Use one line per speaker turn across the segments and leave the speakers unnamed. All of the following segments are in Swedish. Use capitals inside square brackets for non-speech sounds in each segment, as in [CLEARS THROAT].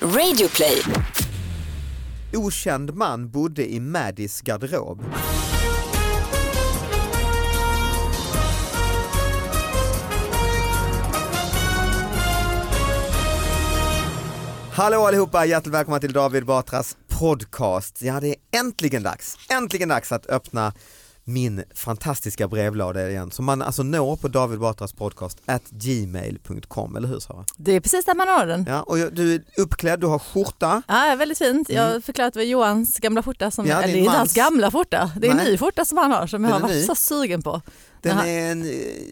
Radioplay.
Okänd man bodde i Maddys garderob. Hallå allihopa, hjärtligt välkomna till David Batras podcast. Ja, det är äntligen dags, äntligen dags att öppna min fantastiska brevlåda igen som man alltså når på David Batras podcast at gmail.com, eller hur Sara?
Det är precis där man har den.
Ja, och jag- du är uppklädd, du har skjorta.
Ja, väldigt fint. Jag har förklarat vad Johans gamla skjorta, som,
Mm. Ja,
eller
din
inte
mans.
hans gamla skjorta, det är en
Nej.
ny skjorta som han har som jag
Den
har
är ny.
varit så sugen på.
Den
Jaha.
är en eh,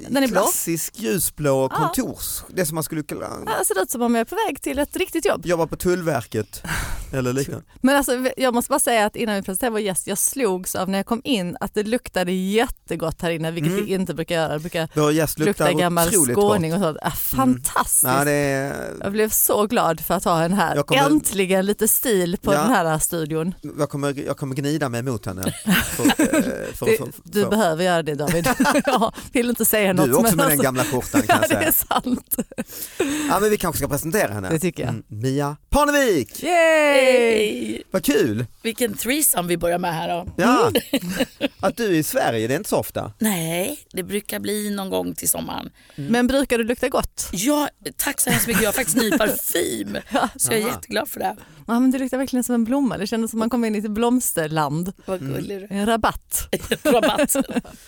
Den är blå.
klassisk ljusblå
Ja.
kontors, det som man skulle kalla,
Ja, Det ser ut som om jag är på väg till ett riktigt jobb.
jobba på Tullverket eller liknande.
Men alltså, jag måste bara säga att innan vi presenterade vår gäst, jag slogs av när jag kom in att det luktade jättegott här inne, vilket
Mm.
det inte brukar göra. Det brukar
Vår gäst
lukta
luktar
gammal
otroligt
skåning
gott. Mm.
och sånt. Ja, fantastiskt!
Ja, det är,
Jag blev så glad för att ha henne här.
Jag kommer-
Äntligen lite stil på
Ja.
den här studion.
jag, kommer, jag kommer gnida mig mot
[LAUGHS]
henne. För, eh, för,
Det,
för, för,
du behöver göra det David. [LAUGHS] jag vill inte säga något.
du också
men
med den
alltså-
gamla skjortan kan
[LAUGHS] Ja
jag
det
säga.
är sant.
Ja, men vi kanske ska presentera henne.
Det tycker jag.
Mm, Mia Parnevik,
Yay!
vad kul!
Vilken threesome vi börjar med här då.
Ja.
Mm.
[LAUGHS] Att du är i Sverige, det är inte så ofta.
Nej, det brukar bli någon gång till sommaren.
Men brukar du lukta gott?
Ja, tack så hemskt mycket. Jag har faktiskt ny [LAUGHS] parfym. Så jag är
Aha.
jätteglad för det.
Ja, men du luktar verkligen som en blomma. Det kändes som man kom in i ett blomsterland.
Vad gullig du
En rabatt.
[LAUGHS] är. Rabatt.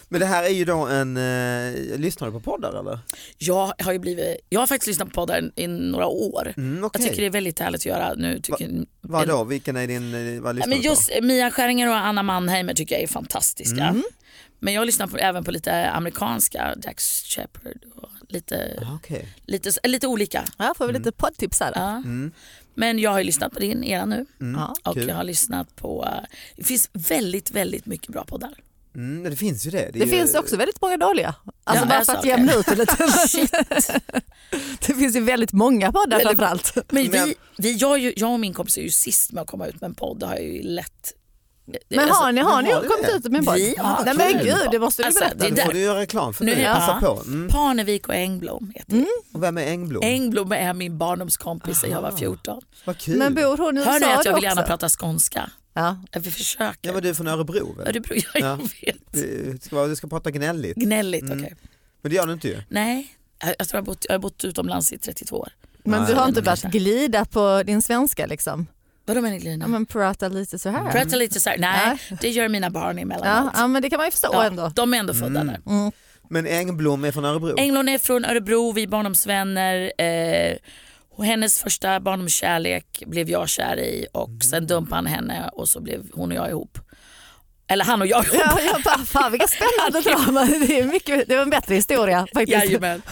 Men det här är ju då en, eh, lyssnar du på poddar eller?
Jag har, ju blivit, jag har faktiskt lyssnat på podden i några år.
Mm,
Jag
okej.
tycker det är väldigt härligt att göra nu. Tycker,
Vadå, vilken är din, eh, vad lyssnar
men
du på?
just Mia Skäringer och Anna Mannheimer tycker jag är fantastiska. Men jag lyssnar på, även på lite amerikanska, Dax Shepard och lite,
Ah, okej.
lite, lite olika.
Ja, får vi lite poddtips här.
Ja. Men jag har ju lyssnat på din, era nu.
Ja.
Och
Mm, Kul.
jag har lyssnat på, eh, det finns väldigt, väldigt mycket bra
[LAUGHS]
poddar.
Mm, det finns ju det. är
Det
ju-
finns också väldigt många dåliga. Alltså
Ja,
bara
alltså,
för att
okej.
jämna ut det lite. [LAUGHS]
Shit.
det finns ju väldigt många poddar
Väldigt-
framförallt.
Men
Men-
vi, vi, jag, är ju- jag och min kompis är ju sist med att komma ut med en podd, det har jag ju lätt.
Men har ni, har ni
har du
kommit
det?
ut med en podd?
alltså- Vi har
Nej
kul.
men gud, det måste du
Alltså,
berätta.
det-
Nu
där.
får du göra reklam för
Nu
det.
är jag-
Passa på. Mm.
Parnevik och Engblom heter
Och vem är Engblom?
det. Engblom är min barndomskompis sen jag var 14.
Vad kul.
Men bor hon i USA
Hör ni att jag vill
också?
gärna prata skånska?
Ja.
Ja, Vi försöker.
Ja, men du är från Örebro
Ja,
väl?
det beror, jag, [LAUGHS]
Ja. Mm.
vet.
Du ska, vara- du ska prata gnälligt.
Gnälligt, okej.
Men det gör du inte ju.
Nej, jag, jag tror jag har, bott, jag har bott utomlands i 32 år.
Men du har inte
Nej.
börjat glida på din svenska liksom?
Vadå menar ni Lina?
Ja men prata lite så här.
Prata lite så här. Nej, det gör mina barn
Ja,
emellanåt.
ja men det kan man ju förstå
Ja,
ändå. Mm.
De är ändå födda
Mm.
där.
Men Engblom är från Örebro.
Englund är från Örebro, vi är barndomsvänner. Eh, och hennes första barndomskärlek blev jag kär i och
Mm.
sen dumpade han henne och så blev hon och jag ihop. Eller han och jag ihop.
[LAUGHS] Ja, jag bara, fan
[LAUGHS]
vilka spännande drama. Det, är mycket, det var en bättre historia faktiskt. [LAUGHS]
Jajamän.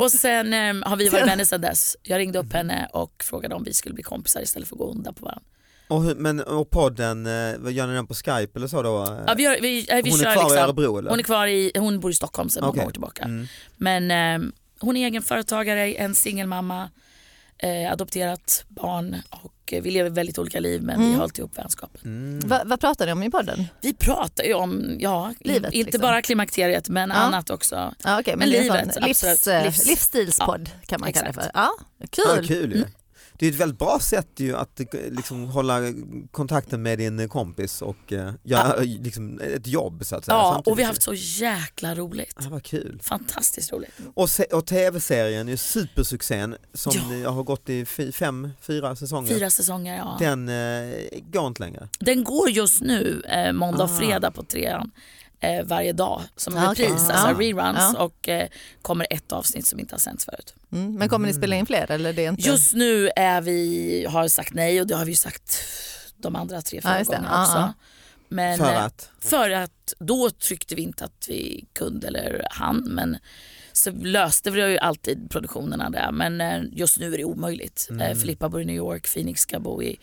Och sen eh, har vi varit vänner sedan dess. Jag ringde
Mm.
upp henne och frågade om vi skulle bli kompisar istället för att gå undan på varandra.
Och, hur- men, och podden, eh, vad gör ni den på Skype eller så då? Eh,
Ja, vi, gör- vi, eh, vi
Hon är
kör
kvar i
liksom,
Örebro, eller?
Hon är kvar i, hon bor i Stockholm sedan
Okej.
många år tillbaka.
Mm.
Men eh, hon är egenföretagare, en singelmamma, eh, adopterat barn och eh, vi lever väldigt olika liv men vi har hållit ihop vänskapen.
mm.
Va, vad pratar ni om i podden?
Vi pratar ju om, ja,
Livet,
Mm, inte
liksom.
bara klimakteriet men
Ja.
annat också.
Ja, okay,
Men
det är en
livet,
sån livs,
absolut.
eh,
Livs-
Livsstilspodd kan man kalla det för.
exakt.
Ja,
Ja,
kul.
kul ju.
Mm.
Det är ett väldigt bra sätt ju att eh, liksom, hålla kontakten med din eh, kompis och eh, göra eh, liksom, ett jobb så att säga.
Ja,
samtidigt
och vi har
ju.
haft så jäkla roligt.
Ja, vad kul.
Fantastiskt roligt.
Och, se- och tv-serien är ju supersuccén som
Ja.
jag har gått i fi- fem, fyra säsonger.
Fyra säsonger, ja. Den,
Den eh, går inte längre.
går just nu eh, måndag
Ah.
och fredag på trean eh, varje dag som en
Ja,
repris,
okej.
alltså
Ja.
reruns
Ja.
och eh, kommer ett avsnitt som inte har sänts förut.
Mm, men kommer ni spela in fler? Eller det är inte...
Just nu är vi, har sagt nej och det har vi ju sagt de andra tre,
Ja,
fyra
just det.
gångerna
Ja,
också.
ja.
Men,
För
eh,
att?
för att då tryckte vi inte att vi kunde eller han men så löste vi ju alltid produktionerna där men eh, just nu är det omöjligt. Mm. Filippa bor i New York, Phoenix ska bo i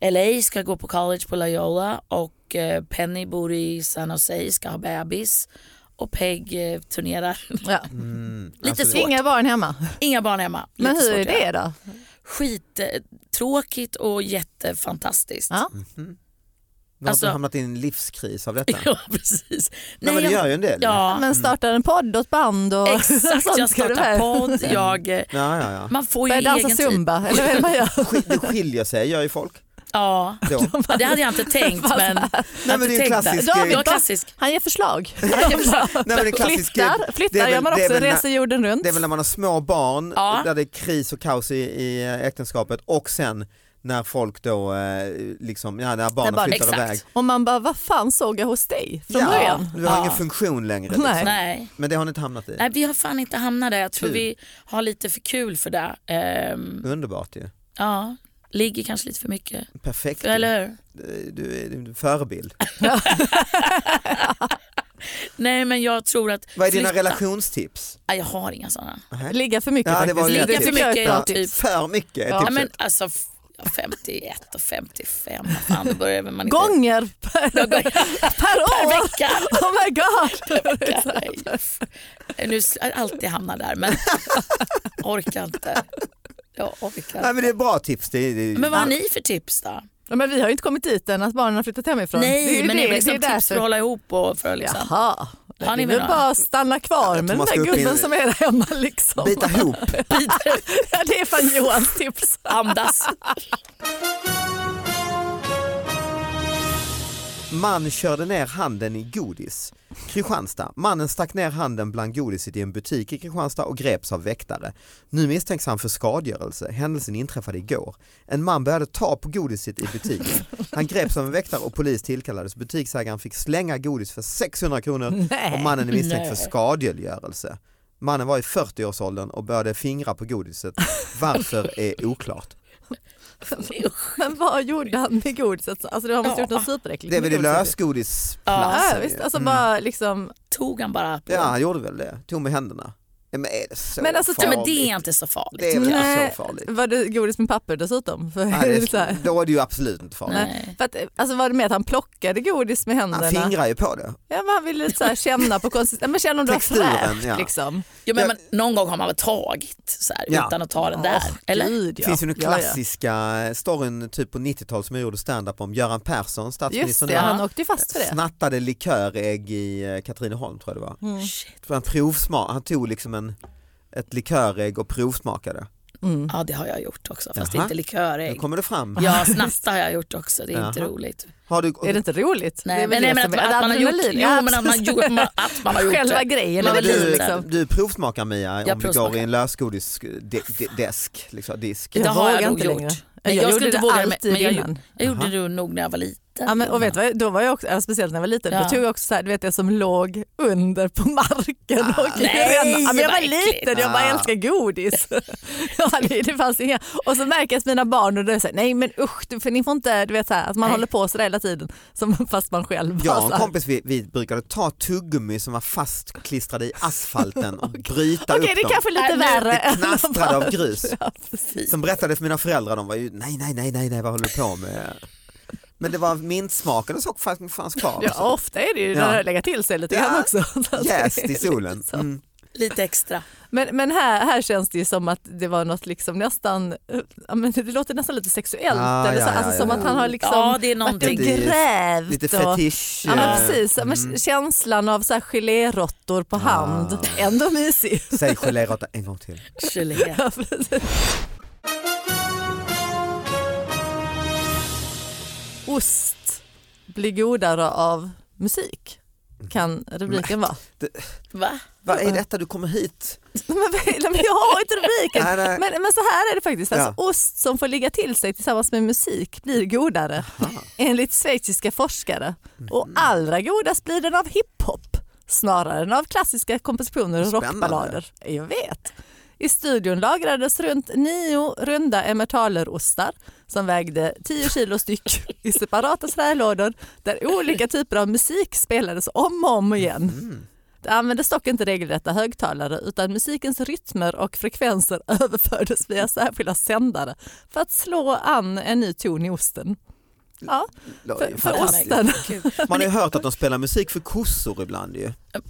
LA, ska gå på college på Loyola och eh, Penny bor i San Jose, ska ha bebis och Peg eh, turnerar.
Ja.
Lite
alltså,
svårt.
Inga barn hemma.
Inga barn hemma.
Men
Lite
hur
svårt
är
att göra
det då?
mhm.
skittråkigt och jättefantastiskt.
Ja.
Varför
Alltså-
har du hamnat i en livskris
[LAUGHS]
av detta?
[LAUGHS] Ja, precis.
Nej, men det
jag-
gör ju en del. [LAUGHS]
Ja,
Men startar en podd och ett band [LAUGHS] och
exakt.
sånt
Jag
ska du
startar
med.
podd. Jag, eh,
Ja, ja, ja.
man får ju
Börjar dansa
egen tid.
zumba eller vad är det man gör?
Sk- Det skiljer sig gör
[LAUGHS]
ju folk.
typ-
[LAUGHS]
Ja.
Då.
Ja, det hade jag inte tänkt men...
Nej, men det är en klassisk, eh,
Jag klassisk.
Han ger förslag.
[LAUGHS]
Nej, men det är klassiskt.
flyttar
Det är
flyttar
väl-
gör man
det är
också,
väl när-
reser jorden runt.
Det är väl när man har små barn
Ja.
där det är kris och kaos i, i äktenskapet och sen när folk då eh, liksom, ja, när barnen
barn-
flyttar
Exakt.
iväg.
Och man bara, vad fan såg jag hos dig från
Ja,
början?
du har
Ja.
ingen funktion längre. liksom.
Nej.
Nej.
Men det har ni inte hamnat i.
Nej, vi har fan inte hamnat där. Jag tror
Tur.
vi har lite för kul för det. Ehm,
Underbart ju.
ja, ligger kanske lite för mycket.
Perfekt. ju.
Eller hur?
Du, du är en förebild.
Nej, men jag tror att...
Vad är dina
flytta-
relationstips?
Nej, jag har inga sådana.
Ligga för mycket
Ja, det
faktiskt.
var ju ett
Ligga
tips.
för mycket är
Ja.
ett tips.
För mycket är
Ja,
typ. Ja,
tipset.
men alltså f- ja, 51 och 55, vad fan då börjar man inte...
Gånger per,
Ja, gång-
per
Per
år!
vecka!
[LAUGHS] Oh my god!
Nej, [LAUGHS] Nu s- jag alltid hamnar där men [LAUGHS] orkar inte. Jag orkar.
Nej, men det är bra tips. Det är, det är,
Men vad har ni för tips då?
Ja, men vi har ju inte kommit dit än att barnen har flyttat hemifrån. det är
Nej
ju
men
det,
det,
det
liksom
är
tips för att
därför.
hålla ihop och för att liksom.
Jaha, det
Har ni
är väl
med
bara
några?
att stanna kvar med den
man ska
där
upp i en-
gubben som är där hemma
[LAUGHS]
liksom.
Bita ihop.
Ja, [LAUGHS] det är fan
[LAUGHS]
Johans tips.
Andas.
Man körde ner handen i godis. Kristianstad. Mannen stack ner handen bland godiset i en butik i Kristianstad och greps av väktare. Nu misstänks han för skadegörelse. Händelsen inträffade igår. En man började ta på godiset i butiken. Han greps av en väktare och polis tillkallades. Butiksägaren fick slänga godis för 600 kronor och mannen är misstänkt för
Nej.
skadegörelse. Mannen var i 40-årsåldern och började fingra på godiset. Varför är oklart.
Usch.
Men vad gjorde han med godiset? Alltså han måste ha gjort något superäckligt.
Det är väl i
med godiset.
lösgodisplatsen.
Ja visst,
ju.
alltså bara liksom.
Tog han bara på?
Ja, han gjorde väl det. Tog med händerna. Ja, Men är det så
Men alltså,
Nej,
farligt?
men det är inte så farligt.
Det är väl
Nej,
inte så
[LAUGHS]
farligt.
Var det godis med papper dessutom? För, [LAUGHS]
Nej,
så här.
det, då är det ju absolut inte farligt.
Nej.
För att, alltså var det med att han plockade godis med händerna?
Han fingrar ju på det.
Ja, men han ville så här känna på konsistensen, men känna om det var
Texturen,
fräscht
ja.
liksom.
Jo, men
Ja.
man, någon gång har man väl tagit så här,
Ja.
utan att ta den där? eller?
Gud,
Det
ja.
finns ju den
Ja, ja.
klassiska storyn typ på 90-talet som jag gjorde stand-up om Göran Persson,
Just
statsministern,
det,
där,
han åkte ju fast för det.
snattade likörägg i eh, Katrineholm tror jag det var.
Shit.
Det var en provsmak, han tog liksom en, ett likörägg och provsmakade.
Mm.
Ja det har jag gjort också fast det är
Jaha.
inte
Nu
likörägg.
kommer det fram.
Ja snatta har jag gjort också, det är inte
Jaha.
roligt.
Har du,
Är det inte roligt?
Nej,
det är
men, nej, men att,
som är-
att, man har gjort,
adrenalin,
jo,
ja,
men att man,
[LAUGHS] precis.
gjort, att man har gjort
[LAUGHS] Själva
det.
grejen är
Man
väl
blir
lite
du,
liksom.
du provsmakar Mia
Jag
om du går
provsmakar.
i en lösgodisdesk, liksom, disk.
Det
Jag
har
vågar
jag nog
inte
gjort.
längre.
Men
Jag
jag,
gjorde
skulle inte
det
våga det,
alltid
men jag,
innan.
gjorde- jag gjorde det nog när jag var liten.
Ja, men, och vet du vad, då var jag också, ja, speciellt när jag var liten, då
Ja.
tog jag också så här, du vet det som låg under på marken. och i
nej,
rännan. ja, men jag var
vad äckligt.
liten, jag bara
Ah.
älskar godis. [LAUGHS] ja, det, det fanns inga. Och så märker jag att mina barn och de säger nej men usch, du- för ni får inte, du vet så här, att man
Nej.
håller på sådär hela tiden som, [LAUGHS] fast man själv Alltså,
Jag
bara
och
så
en
här,
kompis vi, vi brukade ta tuggummi som var fastklistrade i asfalten och bryta
[LAUGHS] Okej
upp
det är
dem.
kanske lite
Nej, nu-
värre.
Det
än vad
knastrade
[LAUGHS] man-
av grus.
Ja, precis.
Som berättade för mina föräldrar, de var ju nej, nej, nej, nej, nej vad håller du på med? Men det var mintsmaken och så fanns, fanns kvar.
Ja,
Ja,
ofta är det ju
Ja.
när det lägger till sig lite
Ja.
grann också. [LAUGHS] Så att det är
Jäst i
lite
solen.
så.
Mm.
Lite extra.
Men, men här, här känns det ju som att det var något liksom nästan, eh, ja, men det låter nästan lite sexuellt.
Ah,
eller så,
ja, ja,
alltså
ja,
som
ja.
att [LAUGHS] han har liksom
ja det är
varit och
någonting.
Lite-
grävt.
Lite
och,
fetisch.
ja, men
eh,
precis, ja, men känslan av så här geléråttor
Ah.
på hand. Ändå mysig. [LAUGHS]
Säg geléråtta en gång till.
Gelé.
Ja, precis. Ost blir godare av musik kan
Mm.
rubriken vara. [LAUGHS]
Va?
Vad är detta du kommer hit?
Men, vad- nej, men jag har inte rubriken.
Nej, nej.
[LAUGHS] Men, men så här är det faktiskt. Alltså, Ost som får ligga till sig tillsammans med musik blir godare enligt schweiziska forskare. Och
Mm.
allra godast blir den av hiphop snarare än av klassiska kompositioner och
Spännande.
rockballader. Jag vet. I studion lagrades runt nio runda emmentalerostar som vägde 10 kilo styck i separata trälådor där olika typer av musik spelades om och om igen.
Mm.
Det användes dock inte regelrätta högtalare utan musikens rytmer och frekvenser [LAUGHS] överfördes via särskilda sändare för att slå an en ny ton i osten. Ja,
Det är
för, för
fantastiskt.
osten.
Kul.
[LAUGHS]
Man har ju hört att de spelar musik för kossor ibland ju.
Ja,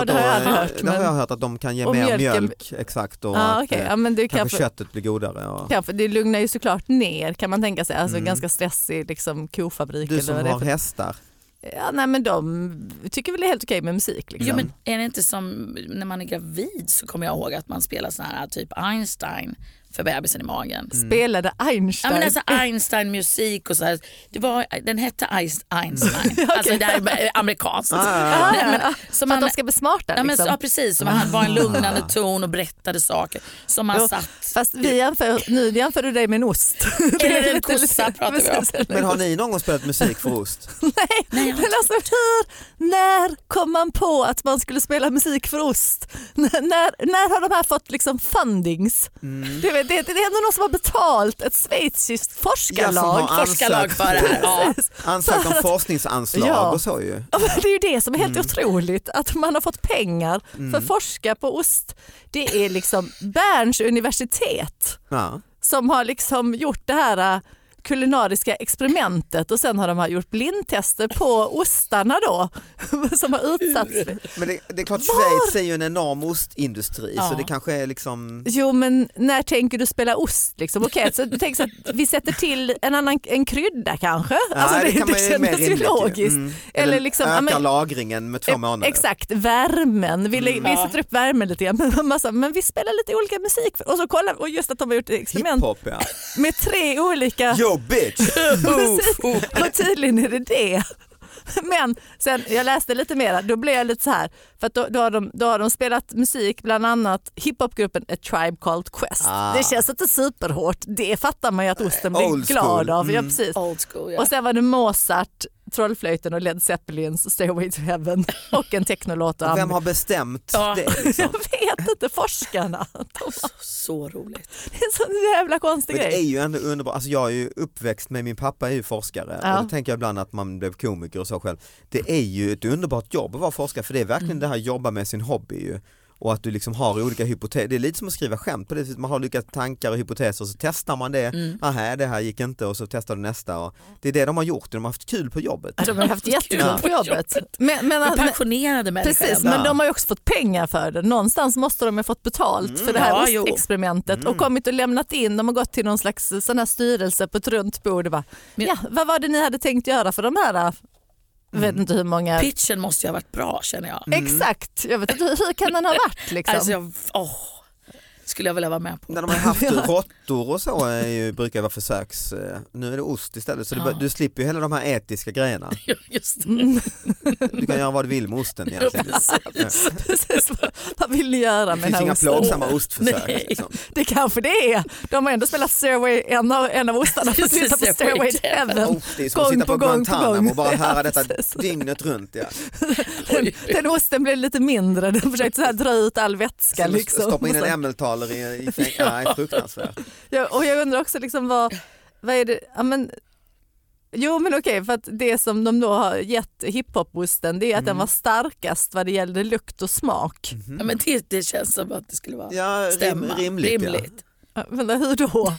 Och
det
då,
har jag aldrig
eh,
hört.
Det har jag
Men,
hört att de kan ge
Och
mer
mjölken-
mjölk, exakt. Och
ja,
att,
okej.
eh,
ja, men det
kanske
kanske,
köttet blir godare. Och...
kanske, det lugnar ju såklart ner kan man tänka sig. Alltså
Mm.
ganska stressig liksom, kofabrik.
Du
eller
som
vad det är
har
för... [LAUGHS]
hästar.
ja, nej, men de tycker väl det är helt okej med musik. Liksom.
Jo, men är det inte som när man är gravid så kommer jag ihåg att man spelar sån här typ Einstein för bebisen i magen.
Mm.
Spelade
Ja,
Einstein.
men alltså Einstein-musik och så här. Det var, den hette Eis-
[LAUGHS]
Einstein. Alltså det här är amerikanskt.
Ah.
Nej, men, som
för att
han,
de ska bli smarta.
ja, men,
liksom. Ah.
ja, precis, som han var en lugnande ton och berättade saker som man
Jo,
satt...
Fast vi jämför, nu jämför du dig med en ost.
[LAUGHS]
[LAUGHS]
Eller en
lite-
kossa pratar vi om.
precis.
Men har ni någon gång spelat musik för ost?
Nej, jag-
Men alltså hur, när kom man på att man skulle spela musik för ost? N- när, när har de här fått liksom fundings?
Mm.
Du vet, det, det är ändå någon som har betalt ett schweiziskt forskarlag.
Ja, som har
Forskarlag för det här. Ja.
Ansökt
[LAUGHS]
om forskningsanslag
Ja.
och så ju.
Ja, men Det är ju det som är
Mm.
helt otroligt, att man har fått pengar för att forska på ost. Det är liksom Berns universitet
Ja.
som har liksom gjort det här äh, kulinariska experimentet och sen har de här gjort blindtester på ostarna då [LAUGHS] som har utsatts. för-
Men det, det är klart, Schweiz är ju en enorm ostindustri så
Ja.
det kanske är liksom...
Jo men när tänker du spela ost liksom? Okej, så du tänker så att vi sätter till en annan en krydda kanske? alltså
Nej,
det, det,
kan man ju- är mer
känns ju
rimligt ju.
logiskt.
Mm.
Eller liksom, ja,
ökar
men-
lagringen med två
Eh,
månader.
Exakt, värmen. Vi, lä- vi
Ja.
sätter upp värmen lite grann. Men, massa, men vi spelar lite olika musik. Och så kollar och just att de har gjort experiment
Hiphop ja.
med tre olika
Yo bitch! [LAUGHS]
musik. Och tydligen är det det. Men sen, jag läste lite mer, då blev jag lite så här, för att då, då, har de, då har de spelat musik, bland annat hiphopgruppen A Tribe Called Quest.
Ah.
Det känns inte superhårt, det fattar man ju att osten blir
Old
glad
school,
av. Ja,
mm.
precis.
Old school, ja.
Och sen var det Mozart, Trollflöjten och Led Zeppelins Stairway
[LAUGHS]
to Heaven och en technolåt. och
Vem har bestämt
Ja.
det? Liksom?
[LAUGHS] Jag vet inte, forskarna.
Alltså, Så roligt.
Det är en sån jävla konstig
Men det är
grej.
ju ändå underbart, alltså jag är ju uppväxt med, min pappa är ju forskare
Ja.
och då tänker jag ibland att man blev komiker och så själv. Det är ju ett underbart jobb att vara forskare för det är verkligen det här jobba med sin hobby ju. Och att du liksom har olika hypoteser, det är lite som att skriva skämt på det sättet, man har olika tankar och hypoteser och så testar man det, aha det här gick inte och så testar du nästa. Och det är det de har gjort, de har haft kul på jobbet.
De har haft jättekul
Ja.
på jobbet. Men, men, men,
Passionerade människor.
precis,
ändå.
men de har ju också fått pengar för det. Någonstans måste de ha fått betalt
Mm.
för det här
Ja, jo.
ostexperimentet och kommit och lämnat in. De har gått till någon slags eh, sån här styrelse på ett runt bord och bara,
Men-
ja, vad var det ni hade tänkt göra för de här, eh?" jag
Mm.
vet inte hur många, Mm.
Pitchen måste ju ha varit bra känner jag.
Liksom.
exakt, jag vet inte, hur, hur kan den ha varit liksom?
Alltså, jag åh, skulle jag vilja vara med på. [LAUGHS]
När de har haft råttor och så är ju, brukar vara försöks, eh, nu är det ost istället så du, bör- du slipper ju hela de här etiska grejerna.
Just det.
Du kan göra vad du vill med
[LAUGHS]
osten egentligen.
[LAUGHS] Precis, vad, vad vill ni göra
Det
med
finns
den här
inga
osten?
plågsamma ostförsök.
Nej.
Liksom.
Det kanske det är. De har ändå spelat Stairway, en av, en av ostarna får
Precis,
sitta på
Stairway
Stairway to
to
Heaven.
Oh, det är som att
Gång
sitta
på
på,
gång på gång.
Guantanamo och bara höra
Ja,
detta
precis.
dygnet runt. Ja.
Den, den osten blev lite mindre, den försökte så här dra ut all vätska.
Sen
Liksom.
Stoppa in
Och
en
så-
ämmeltaler i, i fäng- Nej, fruktansvärt.
Ja, och jag undrar också liksom vad, vad är det, ja, men, jo men okej för att det som de då har gett hiphoposten det är att den var starkast vad det gällde lukt och smak.
Ja, men det, det känns som att det skulle vara
Ja, rim,
stämma.
rimligt.
rimligt.
Men hur då?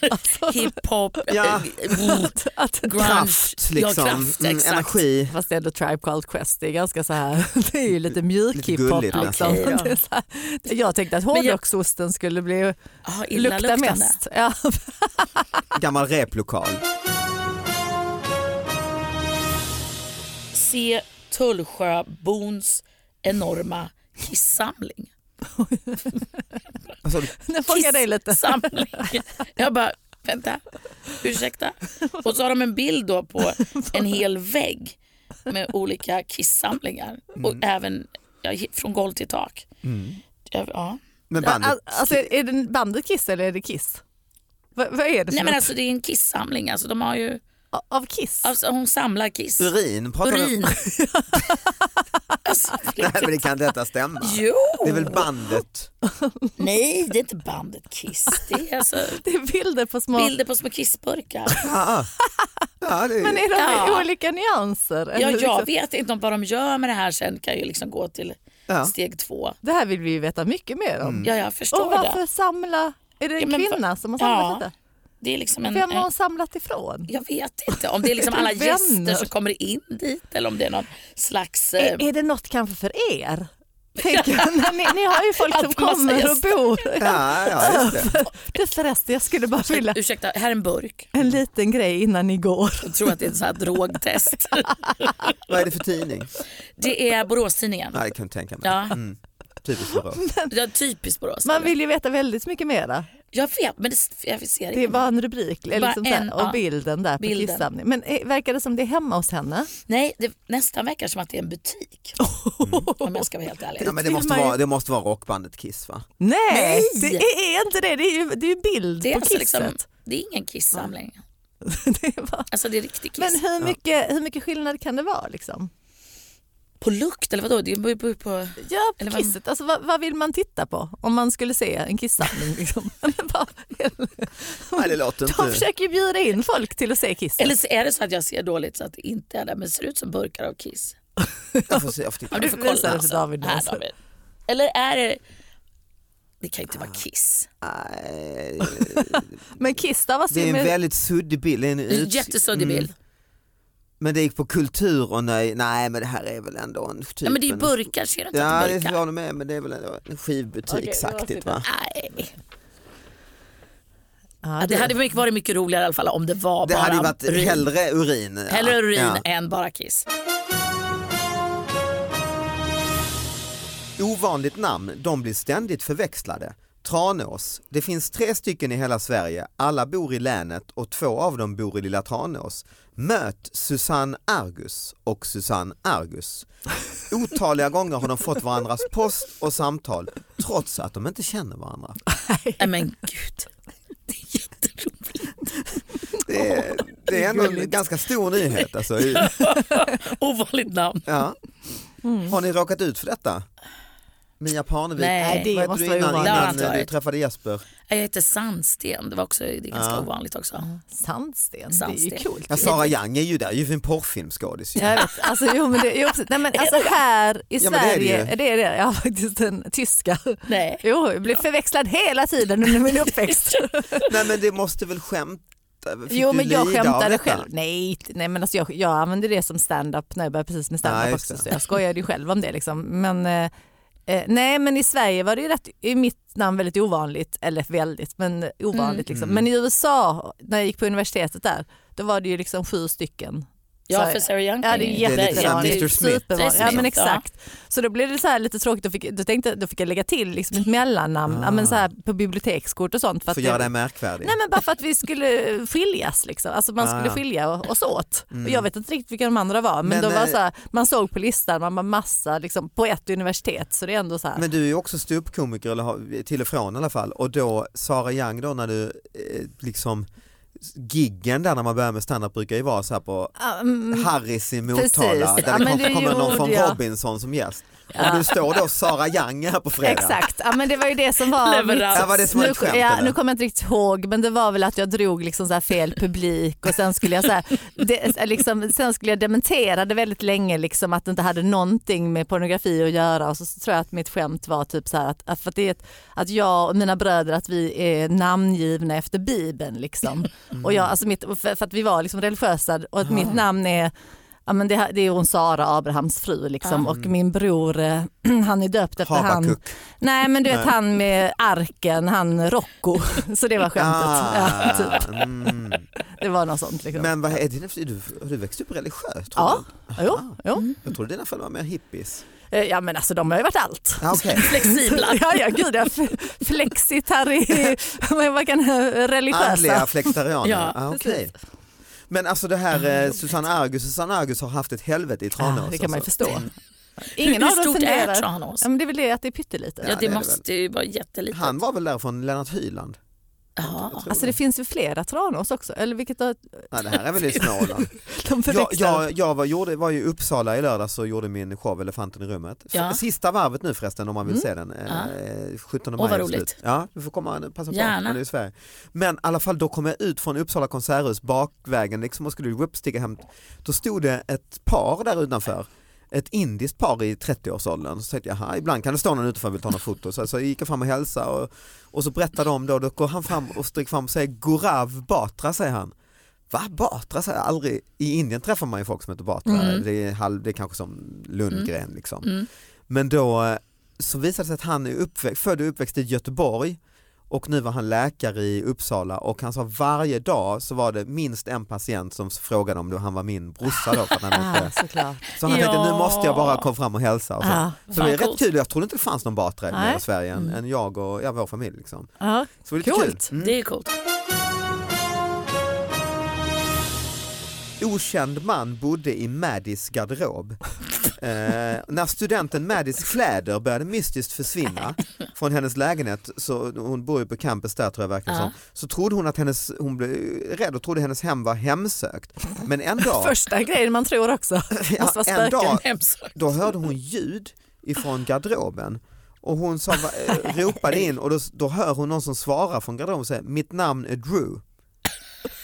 Hiphop,
[LAUGHS] Ja.
eh,
Att, att,
Ja.
grunge.
Kraft, liksom.
Ja, kraft,
mm,
exakt.
energi.
Fast det är ändå Tribe Called Quest, det är ganska så här, [LAUGHS] det är ju lite mjuk
Lite
hiphop.
gulligt
Liksom.
nästan. Okej, ja.
Det är så här, jag tänkte att
jag-
hårdrocksosten skulle bli,
Ah, illa
lukta
luktande.
mest. Ja, [LAUGHS]
Gammal replokal.
Se Tullsjöbons enorma kissamling.
Alltså,
den fångade dig lite.
Kissamling. [LAUGHS] Jag bara, vänta, ursäkta. Och så har de en bild då på en hel vägg med olika kissamlingar. Och även ja, he- från golv till tak. Ja, Ja.
men
Al-
bandet.
Alltså, är det bandet Kiss eller är det Kiss? Va, vad är det för
Nej men
något?
alltså det är en kissamling. Alltså, de har ju,
Av Kiss?
alltså, hon samlar kiss.
Urin, pratar du-
Urin. [LAUGHS] alltså,
[LAUGHS] Nej [LAUGHS] men det kan detta stämma?
jo!
Det är väl bandet?
Nej det är inte bandet Kiss. Det är alltså
Det är bilder på små...
bilder på små kissburkar.
Ja, ja, det
Men
är,
är de
Ja.
i olika nyanser?
Ja,
Eller
jag
liksom-
vet inte om vad de gör med det här sen kan ju liksom gå till
ja.
steg två.
Det här vill vi ju veta mycket mer om.
Mm.
Ja, jag förstår
Mm. Och varför
det.
samla... Är det en
Ja, men
kvinna
för-
som har samlat
Ja.
detta?
det är liksom en,
Vem har
en-
hon samlat ifrån?
jag vet inte om det är
[LAUGHS]
liksom alla
Vänner.
gäster som kommer in dit eller om det är någon slags... eh,
Är, är det något kanske för
[LAUGHS]
er? Tänker, jag. Nej, ni, ni har ju folk som
Att man
kommer
säger
och bor.
Ja, ja, just det.
[LAUGHS] Du förresten, jag skulle bara vilja
Ursäkta, här är en burk.
en liten grej innan ni går.
Jag tror att det är ett sånt här
[LAUGHS]
drogtest.
Vad är det för tidning?
Det är Boråstidningen.
Nej, det kan jag tänka mig.
Ja,
Mm. Typiskt Borås.
ja typiskt Borås.
Man vill ju veta väldigt mycket mera.
Jag vet, men det, jag ser
Det är
inte.
bara en rubrik eller
Bara
liksom så här,
en,
och
ja.
bilden där på
Bilden.
kissamning. Men eh, verkar det som det är hemma hos henne?
Nej, det, nästan verkar som att det är en butik. Om jag ska vara helt ärlig.
Ja, men det,
vill
måste
man ju-
vara, det måste vara rockbandet Kiss va?
[LAUGHS] Nej, det är inte det. Det är ju, det är ju bild
Det är,
på
alltså
kisset. [LAUGHS]
liksom, det är ingen kissamling.
Det är bara-
Alltså det är riktig kiss.
Men hur mycket, hur mycket skillnad kan det vara? Liksom?
På lukt eller vadå? Det beror ju på, på...
Ja,
Eller
på
vad-
kisset. Alltså, vad, vad vill man titta på om man skulle se en kissamling? Liksom? [LAUGHS] Men vad-
Nej, det låter
De
inte...
försöker ju bjuda in folk till att se kisset.
Eller så är det så att jag ser dåligt så att det inte är det. Men det ser ut som burkar av kiss.
Jag får se, jag får titta.
Ja, du får
Visa det
kolla.
för
Alltså.
David nu,
Här,
alltså.
David. Eller är det... Det kan ju inte vara kiss. [LAUGHS]
Nej,
Men kiss stavas
Det
ju
är en
med...
väldigt suddig bild. Det är en
Det är en
ut-
jättesuddig bild.
Mm. Men det gick på kultur och nej, nej men det här är väl ändå en typ
Ja, men det är ju
en-
burkar, ser du inte
Ja
att det
det
är burkar?
var nog med men det är väl ändå en
Okej, det var
skivbutiksaktigt
typ-
va?
Nej.
Ja,
Ja, det hade mycket- varit mycket roligare i alla fall om det var
Det
bara
hade ju varit
urin.
hellre urin. ja.
Hellre urin
Ja.
än bara kiss.
Ovanligt namn, de blir ständigt förväxlade. Tranås, det finns tre stycken i hela Sverige, alla bor i länet och två av dem bor i lilla Tranås. Möt Susanne Argus och Susanne Argus. Otaliga gånger har de fått varandras post och samtal trots att de inte känner varandra.
Nej men gud. Det är jätteroligt.
Det är, det är ändå en ganska stor nyhet.
[LAUGHS]
Alltså. I-
Ovanligt namn.
Ja. Har ni råkat ut för detta? Mia Parnevik,
Nej,
vad
det
hette
måste
du
vara
innan,
ovanligt.
Det har
innan
inte
du
varit.
träffade Jesper?
Nej, Jag heter Sandsten, det, var också, det är ganska
Ja.
ovanligt också.
Sandsten, det är
Sandsten.
ju coolt.
Ja, Sara Young är ju där, ju för en porrfilmskådis. ju.
Jag vet, alltså, jo, men det, jo, precis. Nej, men,
[LAUGHS]
alltså, här i
Ja, men det är det
Sverige,
ju.
är det är det. Jag har faktiskt en tyska.
Nej.
Jo, jag blev förväxlad hela tiden under
[LAUGHS]
min uppväxt.
[LAUGHS] Nej men det måste väl skämta? Fick
jo,
du
men jag
lida av
skämtade
detta?
själv. Nej, t- nej men alltså, jag, jag använde det som stand-up när jag började precis med stand-up
Ja, just
också.
det.
Så jag skojade ju själv om det. Liksom. Men, eh, eh, nej, men i Sverige var det ju rätt, i mitt namn väldigt ovanligt, eller väldigt, men ovanligt. Liksom.
Mm,
Men i USA, när jag gick på universitetet där, då var det ju liksom sju stycken
Ja,
Så-
för Sarah Young
Ja det
ju-
är
Det är lite såhär
jättevanligt.
Mr. Smith.
Supervanligt.
Mr.
Ja
Smith,
men
ja.
exakt. Så då blev det så här lite tråkigt, då fick, då, tänkte, då fick jag lägga till liksom ett mellannamn ja, men så här på bibliotekskort och sånt. För
Ah. För
att
att göra
det-
dig märkvärdig.
Nej men bara för att vi skulle skiljas liksom. Alltså man
Ah,
skulle
ja.
skilja o- oss åt. Och jag vet inte riktigt vilka de andra var men,
Men,
då var
eh,
så här, man såg på listan, man var massa liksom, på ett universitet så det är ändå så här.
Men du är ju också ståuppkomiker, eller har- till och från i alla fall. Och då Sara Young då när du eh, liksom giggen där när man börjar med standup brukar ju vara så här på
Ah, mm,
Harris i
Precis.
Motala där
Ja,
det
men
kanske
det
kommer någon
gjorde
från
jag.
Robinson som gäst. Om du står då Sara Young här på fredag.
Exakt, ja, men det var ju det som var
Leverans.
Ja, var det som var
nu,
ett skämt,
ja,
eller?
nu kommer jag inte riktigt ihåg men det var väl att jag drog liksom så här fel publik och sen skulle jag, så här, det, liksom, sen skulle jag dementera det väldigt länge liksom, att det inte hade någonting med pornografi att göra och så, så tror jag att mitt skämt var typ så här att, att, för att, det är ett, att jag och mina bröder att vi är namngivna efter Bibeln. Liksom. Och jag, alltså mitt, för, för att vi var liksom religiösa och att
Ah.
mitt namn är Ja, men det, här- det är hon Sara, Abrahams fru
Ah.
liksom. och min bror eh, [CLEARS THROAT] han är döpt efter han.
Habakuk.
Nej men du vet han med arken, han Rocco. Så det var skämtet. Ja, typ.
Ah, mm.
Det var något sånt. Liksom.
Men vad är din, är du, har du växt upp religiöst? tror
ja,
du?
jo, jo.
Jag trodde dina föräldrar var mer hippies.
Eh, ja men alltså de har ju varit allt.
Ah, okay.
Flexibla.
[LAUGHS] Ja, ja gud ja. F- Flexitari, [LAUGHS] vad kan religiösa.
Andliga flexitarianer.
Ja,
ah, okej. Men alltså det här eh, Susanne Argus, Susanne Argus har haft ett helvete i
Ja,
Tranås.
det kan man ju
alltså.
förstå.
Hur
Ingen av dem
stort är
funderar.
Tranås?
Ja, men det är väl det att det är pyttelitet.
Ja,
det är
det
det
måste ju vara jättelitet.
Han var väl där från Lennart Hyland?
ja.
Alltså det finns ju flera Tranås också, eller vilket då,
Nej, det här är väl i Småland.
de
jag
förväxlar.
jag, jag var, gjorde, var ju i Uppsala i lördags och gjorde min show Elefanten i rummet. F-
Ja. Mm.
Sista varvet nu förresten om man vill se den. Eh, 17 maj.
Åh, vad
är det
roligt.
slut. Ja, du får komma och passa på.
Gärna.
om du är i Sverige. Men i alla fall då kom jag ut från Uppsala konserthus bakvägen liksom, och skulle upp, stiga hem. Då stod det ett par där utanför. ett indiskt par i 30-årsåldern. Så tänkte jag, "Jaha, ibland kan det stå någon utanför och vill ta några foto. Så, så gick jag fram och hälsade och, och så berättade de då, då går han fram och sträcker fram och säger Gorav Batra säger han. Va Batra säger jag aldrig, i Indien träffar man ju folk som heter Batra,
Mm.
det, är halv, det är kanske som Lundgren liksom.
Mm.
Men då eh, så visade det sig att han är uppväxt, född och uppväxt i Göteborg och nu var han läkare i Uppsala och han sa varje dag så var det minst en patient som frågade om det, han var min brorsa då. För att han
Ah,
hette.
såklart.
Så han tänkte nu
Ja.
måste jag bara komma fram och hälsa. Och så.
Ja,
Så det är
Fan,
rätt
coolt.
kul, jag trodde inte det fanns någon Batra mer
Nej.
i Sverige än,
Mm.
än jag och ja, vår familj. Liksom.
ja.
Så det var lite
Coolt.
kul. Mm.
Det är
[LAUGHS]
coolt.
okänd man bodde i Maddys garderob.
[LAUGHS]
Eh, när studenten Maddys kläder började mystiskt försvinna från hennes lägenhet, så, hon bor ju på campus där tror jag verkligen
Ja.
som, så trodde hon att hennes, hon blev rädd och trodde hennes hem var hemsökt.
[LAUGHS]
Men en dag,
Första grejen man tror [LAUGHS] också.
[LAUGHS] ja,
måste vara
en dag
spöken.
Hemskt.
då hörde hon ljud ifrån garderoben och hon sa, va- eh, ropade in och då, då hör hon någon som svarar från garderoben och säger mitt namn är Drew.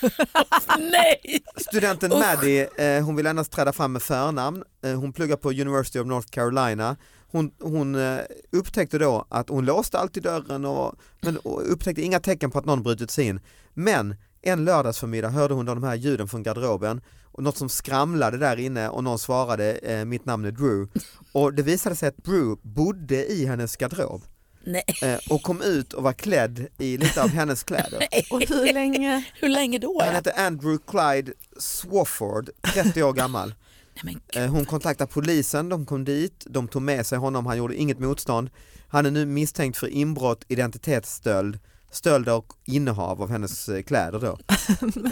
[LAUGHS] Nej!
Studenten Maddie, eh, hon vill endast träda fram med förnamn. Eh, hon pluggar på University of North Carolina. Hon, hon eh, upptäckte då att hon låste alltid dörren och, men, och upptäckte inga tecken på att någon brutit sig in. Men en lördagsförmiddag hörde hon då de här ljuden från garderoben och något som skramlade där inne och någon svarade eh, mitt namn är Drew och det visade sig att Drew bodde i hennes garderob
Nej.
eh, och kom ut och var klädd i lite av hennes kläder.
Och hur länge?
Hur länge då?
Han
ja?
hette Andrew Clyde Swafford, 30 år gammal.
Nej, men
Eh, Hon kontaktade polisen, de kom dit, de tog med sig honom, han gjorde inget motstånd. Han är nu misstänkt för inbrott, identitetsstöld, stöld och innehav av hennes eh, kläder
[LAUGHS]
då.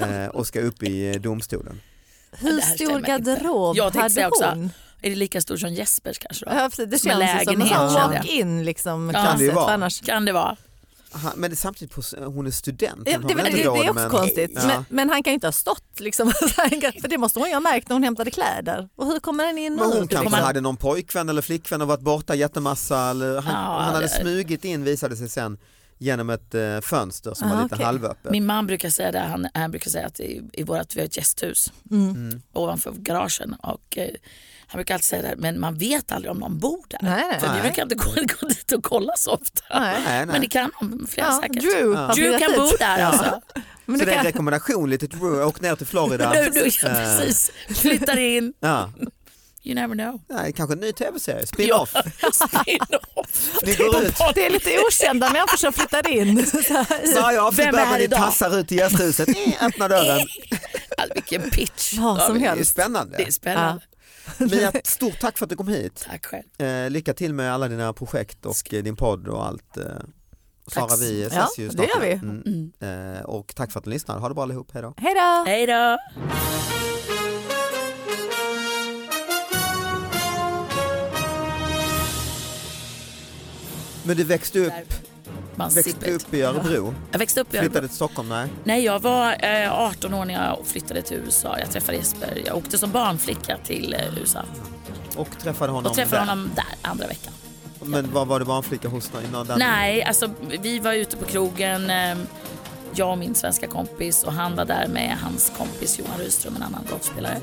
Eh, och ska upp i eh, domstolen.
Hur
Det här
stor
stämmer inte.
garderob
Jag tänkte
hade
säga också.
hon?
Är det lika stor som Jespers kanske? Då?
Ja, precis, det
Som en
känns ju som en
lägenhet,
sån
kände jag.
walk-in liksom,
Ja.
Kan det ju
closet, för
vara.
annars
Kan det vara?
Han, men det, samtidigt, på, hon är student.
Ja,
hon har
det, det,
väl
det
inte råd
är också
med en-
konstigt.
Ja.
Men, men han kan ju inte ha stått liksom. [LAUGHS] För det måste hon ju ha märkt när hon hämtade kläder. Och hur kommer den in
Men
och
hon
ut? liksom?
kanske hade någon pojkvän eller flickvän och varit borta jättemassa. Eller han,
Ja,
han
eh,
hade
det-
smugit in visade sig sen genom ett eh, fönster som
Ah,
var lite
okej.
halvöppet.
Min man brukar säga det, han, han brukar säga att i, i vårat, vi har ett gästhus
Mm.
Mm.
ovanför garagen och eh, han brukar alltid säga det, här, men man vet aldrig om någon bor där.
Nej, nej.
För vi
Nej.
brukar inte gå, gå dit och kolla så ofta.
Nej.
Nej, nej.
Men det kan de, flera
Ja,
säkert.
Drew,
Ja.
har
Drew
flyttat
kan
hit.
bo där alltså.
Men
så
du
det är en
kan,
rekommendation lite till Drew, åk ner
[LAUGHS]
till Florida.
Du, du,
Eh,
precis, flyttar in,
Ja.
you never know.
Nej, kanske en ny tv-serie, spin-off.
Ja, spin-off.
Ni går ut.
[LAUGHS] det är lite okända människor som flyttar in. [LAUGHS] Så här, i-
Varje
Vem
avsnitt
är
behöver
här
ni
idag?
tassar ut i gästhuset,
[LAUGHS]
Eh, öppna dörren.
Alltså, [LAUGHS] vilken pitch.
Vad som
Ja,
Det är ju
helst.
Det är
spännande.
spännande.
Mia, stort tack för att du kom hit.
Tack själv.
Eh, lycka till med alla dina projekt och eh, din podd och allt. Eh, och
Tack
Sara,
så-
vi
Ja,
ses ju
det
snart.
gör vi.
Mm. Eh, och tack för att ni lyssnade. Ha det bra allihop, hej då.
Hej då!
Hej då.
Men du växte upp,
Man
växte
växte
upp i Örebro,
Jag växte upp i Örebro.
flyttade till Stockholm, nej.
Nej, jag var eh, 18 år när jag flyttade till USA. Jag träffade Jesper. Jag åkte som barnflicka till eh, USA
Och träffade honom
och träffade
där.
honom där andra veckan.
Men vad var det barnflicka hos dig? Någon där?
Nej, alltså vi var ute på krogen, eh, jag och min svenska kompis och han var där med hans kompis Johan Rydström, en annan golfspelare.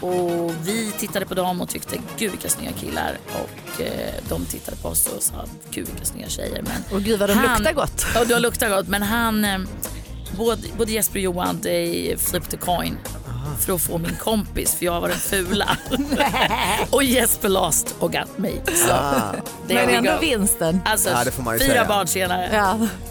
Och vi tittade på dem och tyckte gud vilka snygga killar och eh, de tittade på oss och sa gud vilka snygga tjejer. Men
Och gud vad de
Han-
luktar gott. [LAUGHS]
Ja, du har luktat gott. Men han, eh, både, både Jesper och Johan, de flipped a coin för att få min kompis, för jag var den fula. [LAUGHS] och Jesper lost och got me. Så,
Ah,
there
Men
we
ändå
go.
vinsten.
Alltså,
Ja, det får man ju
fyra
säga.
barn senare.
Ja.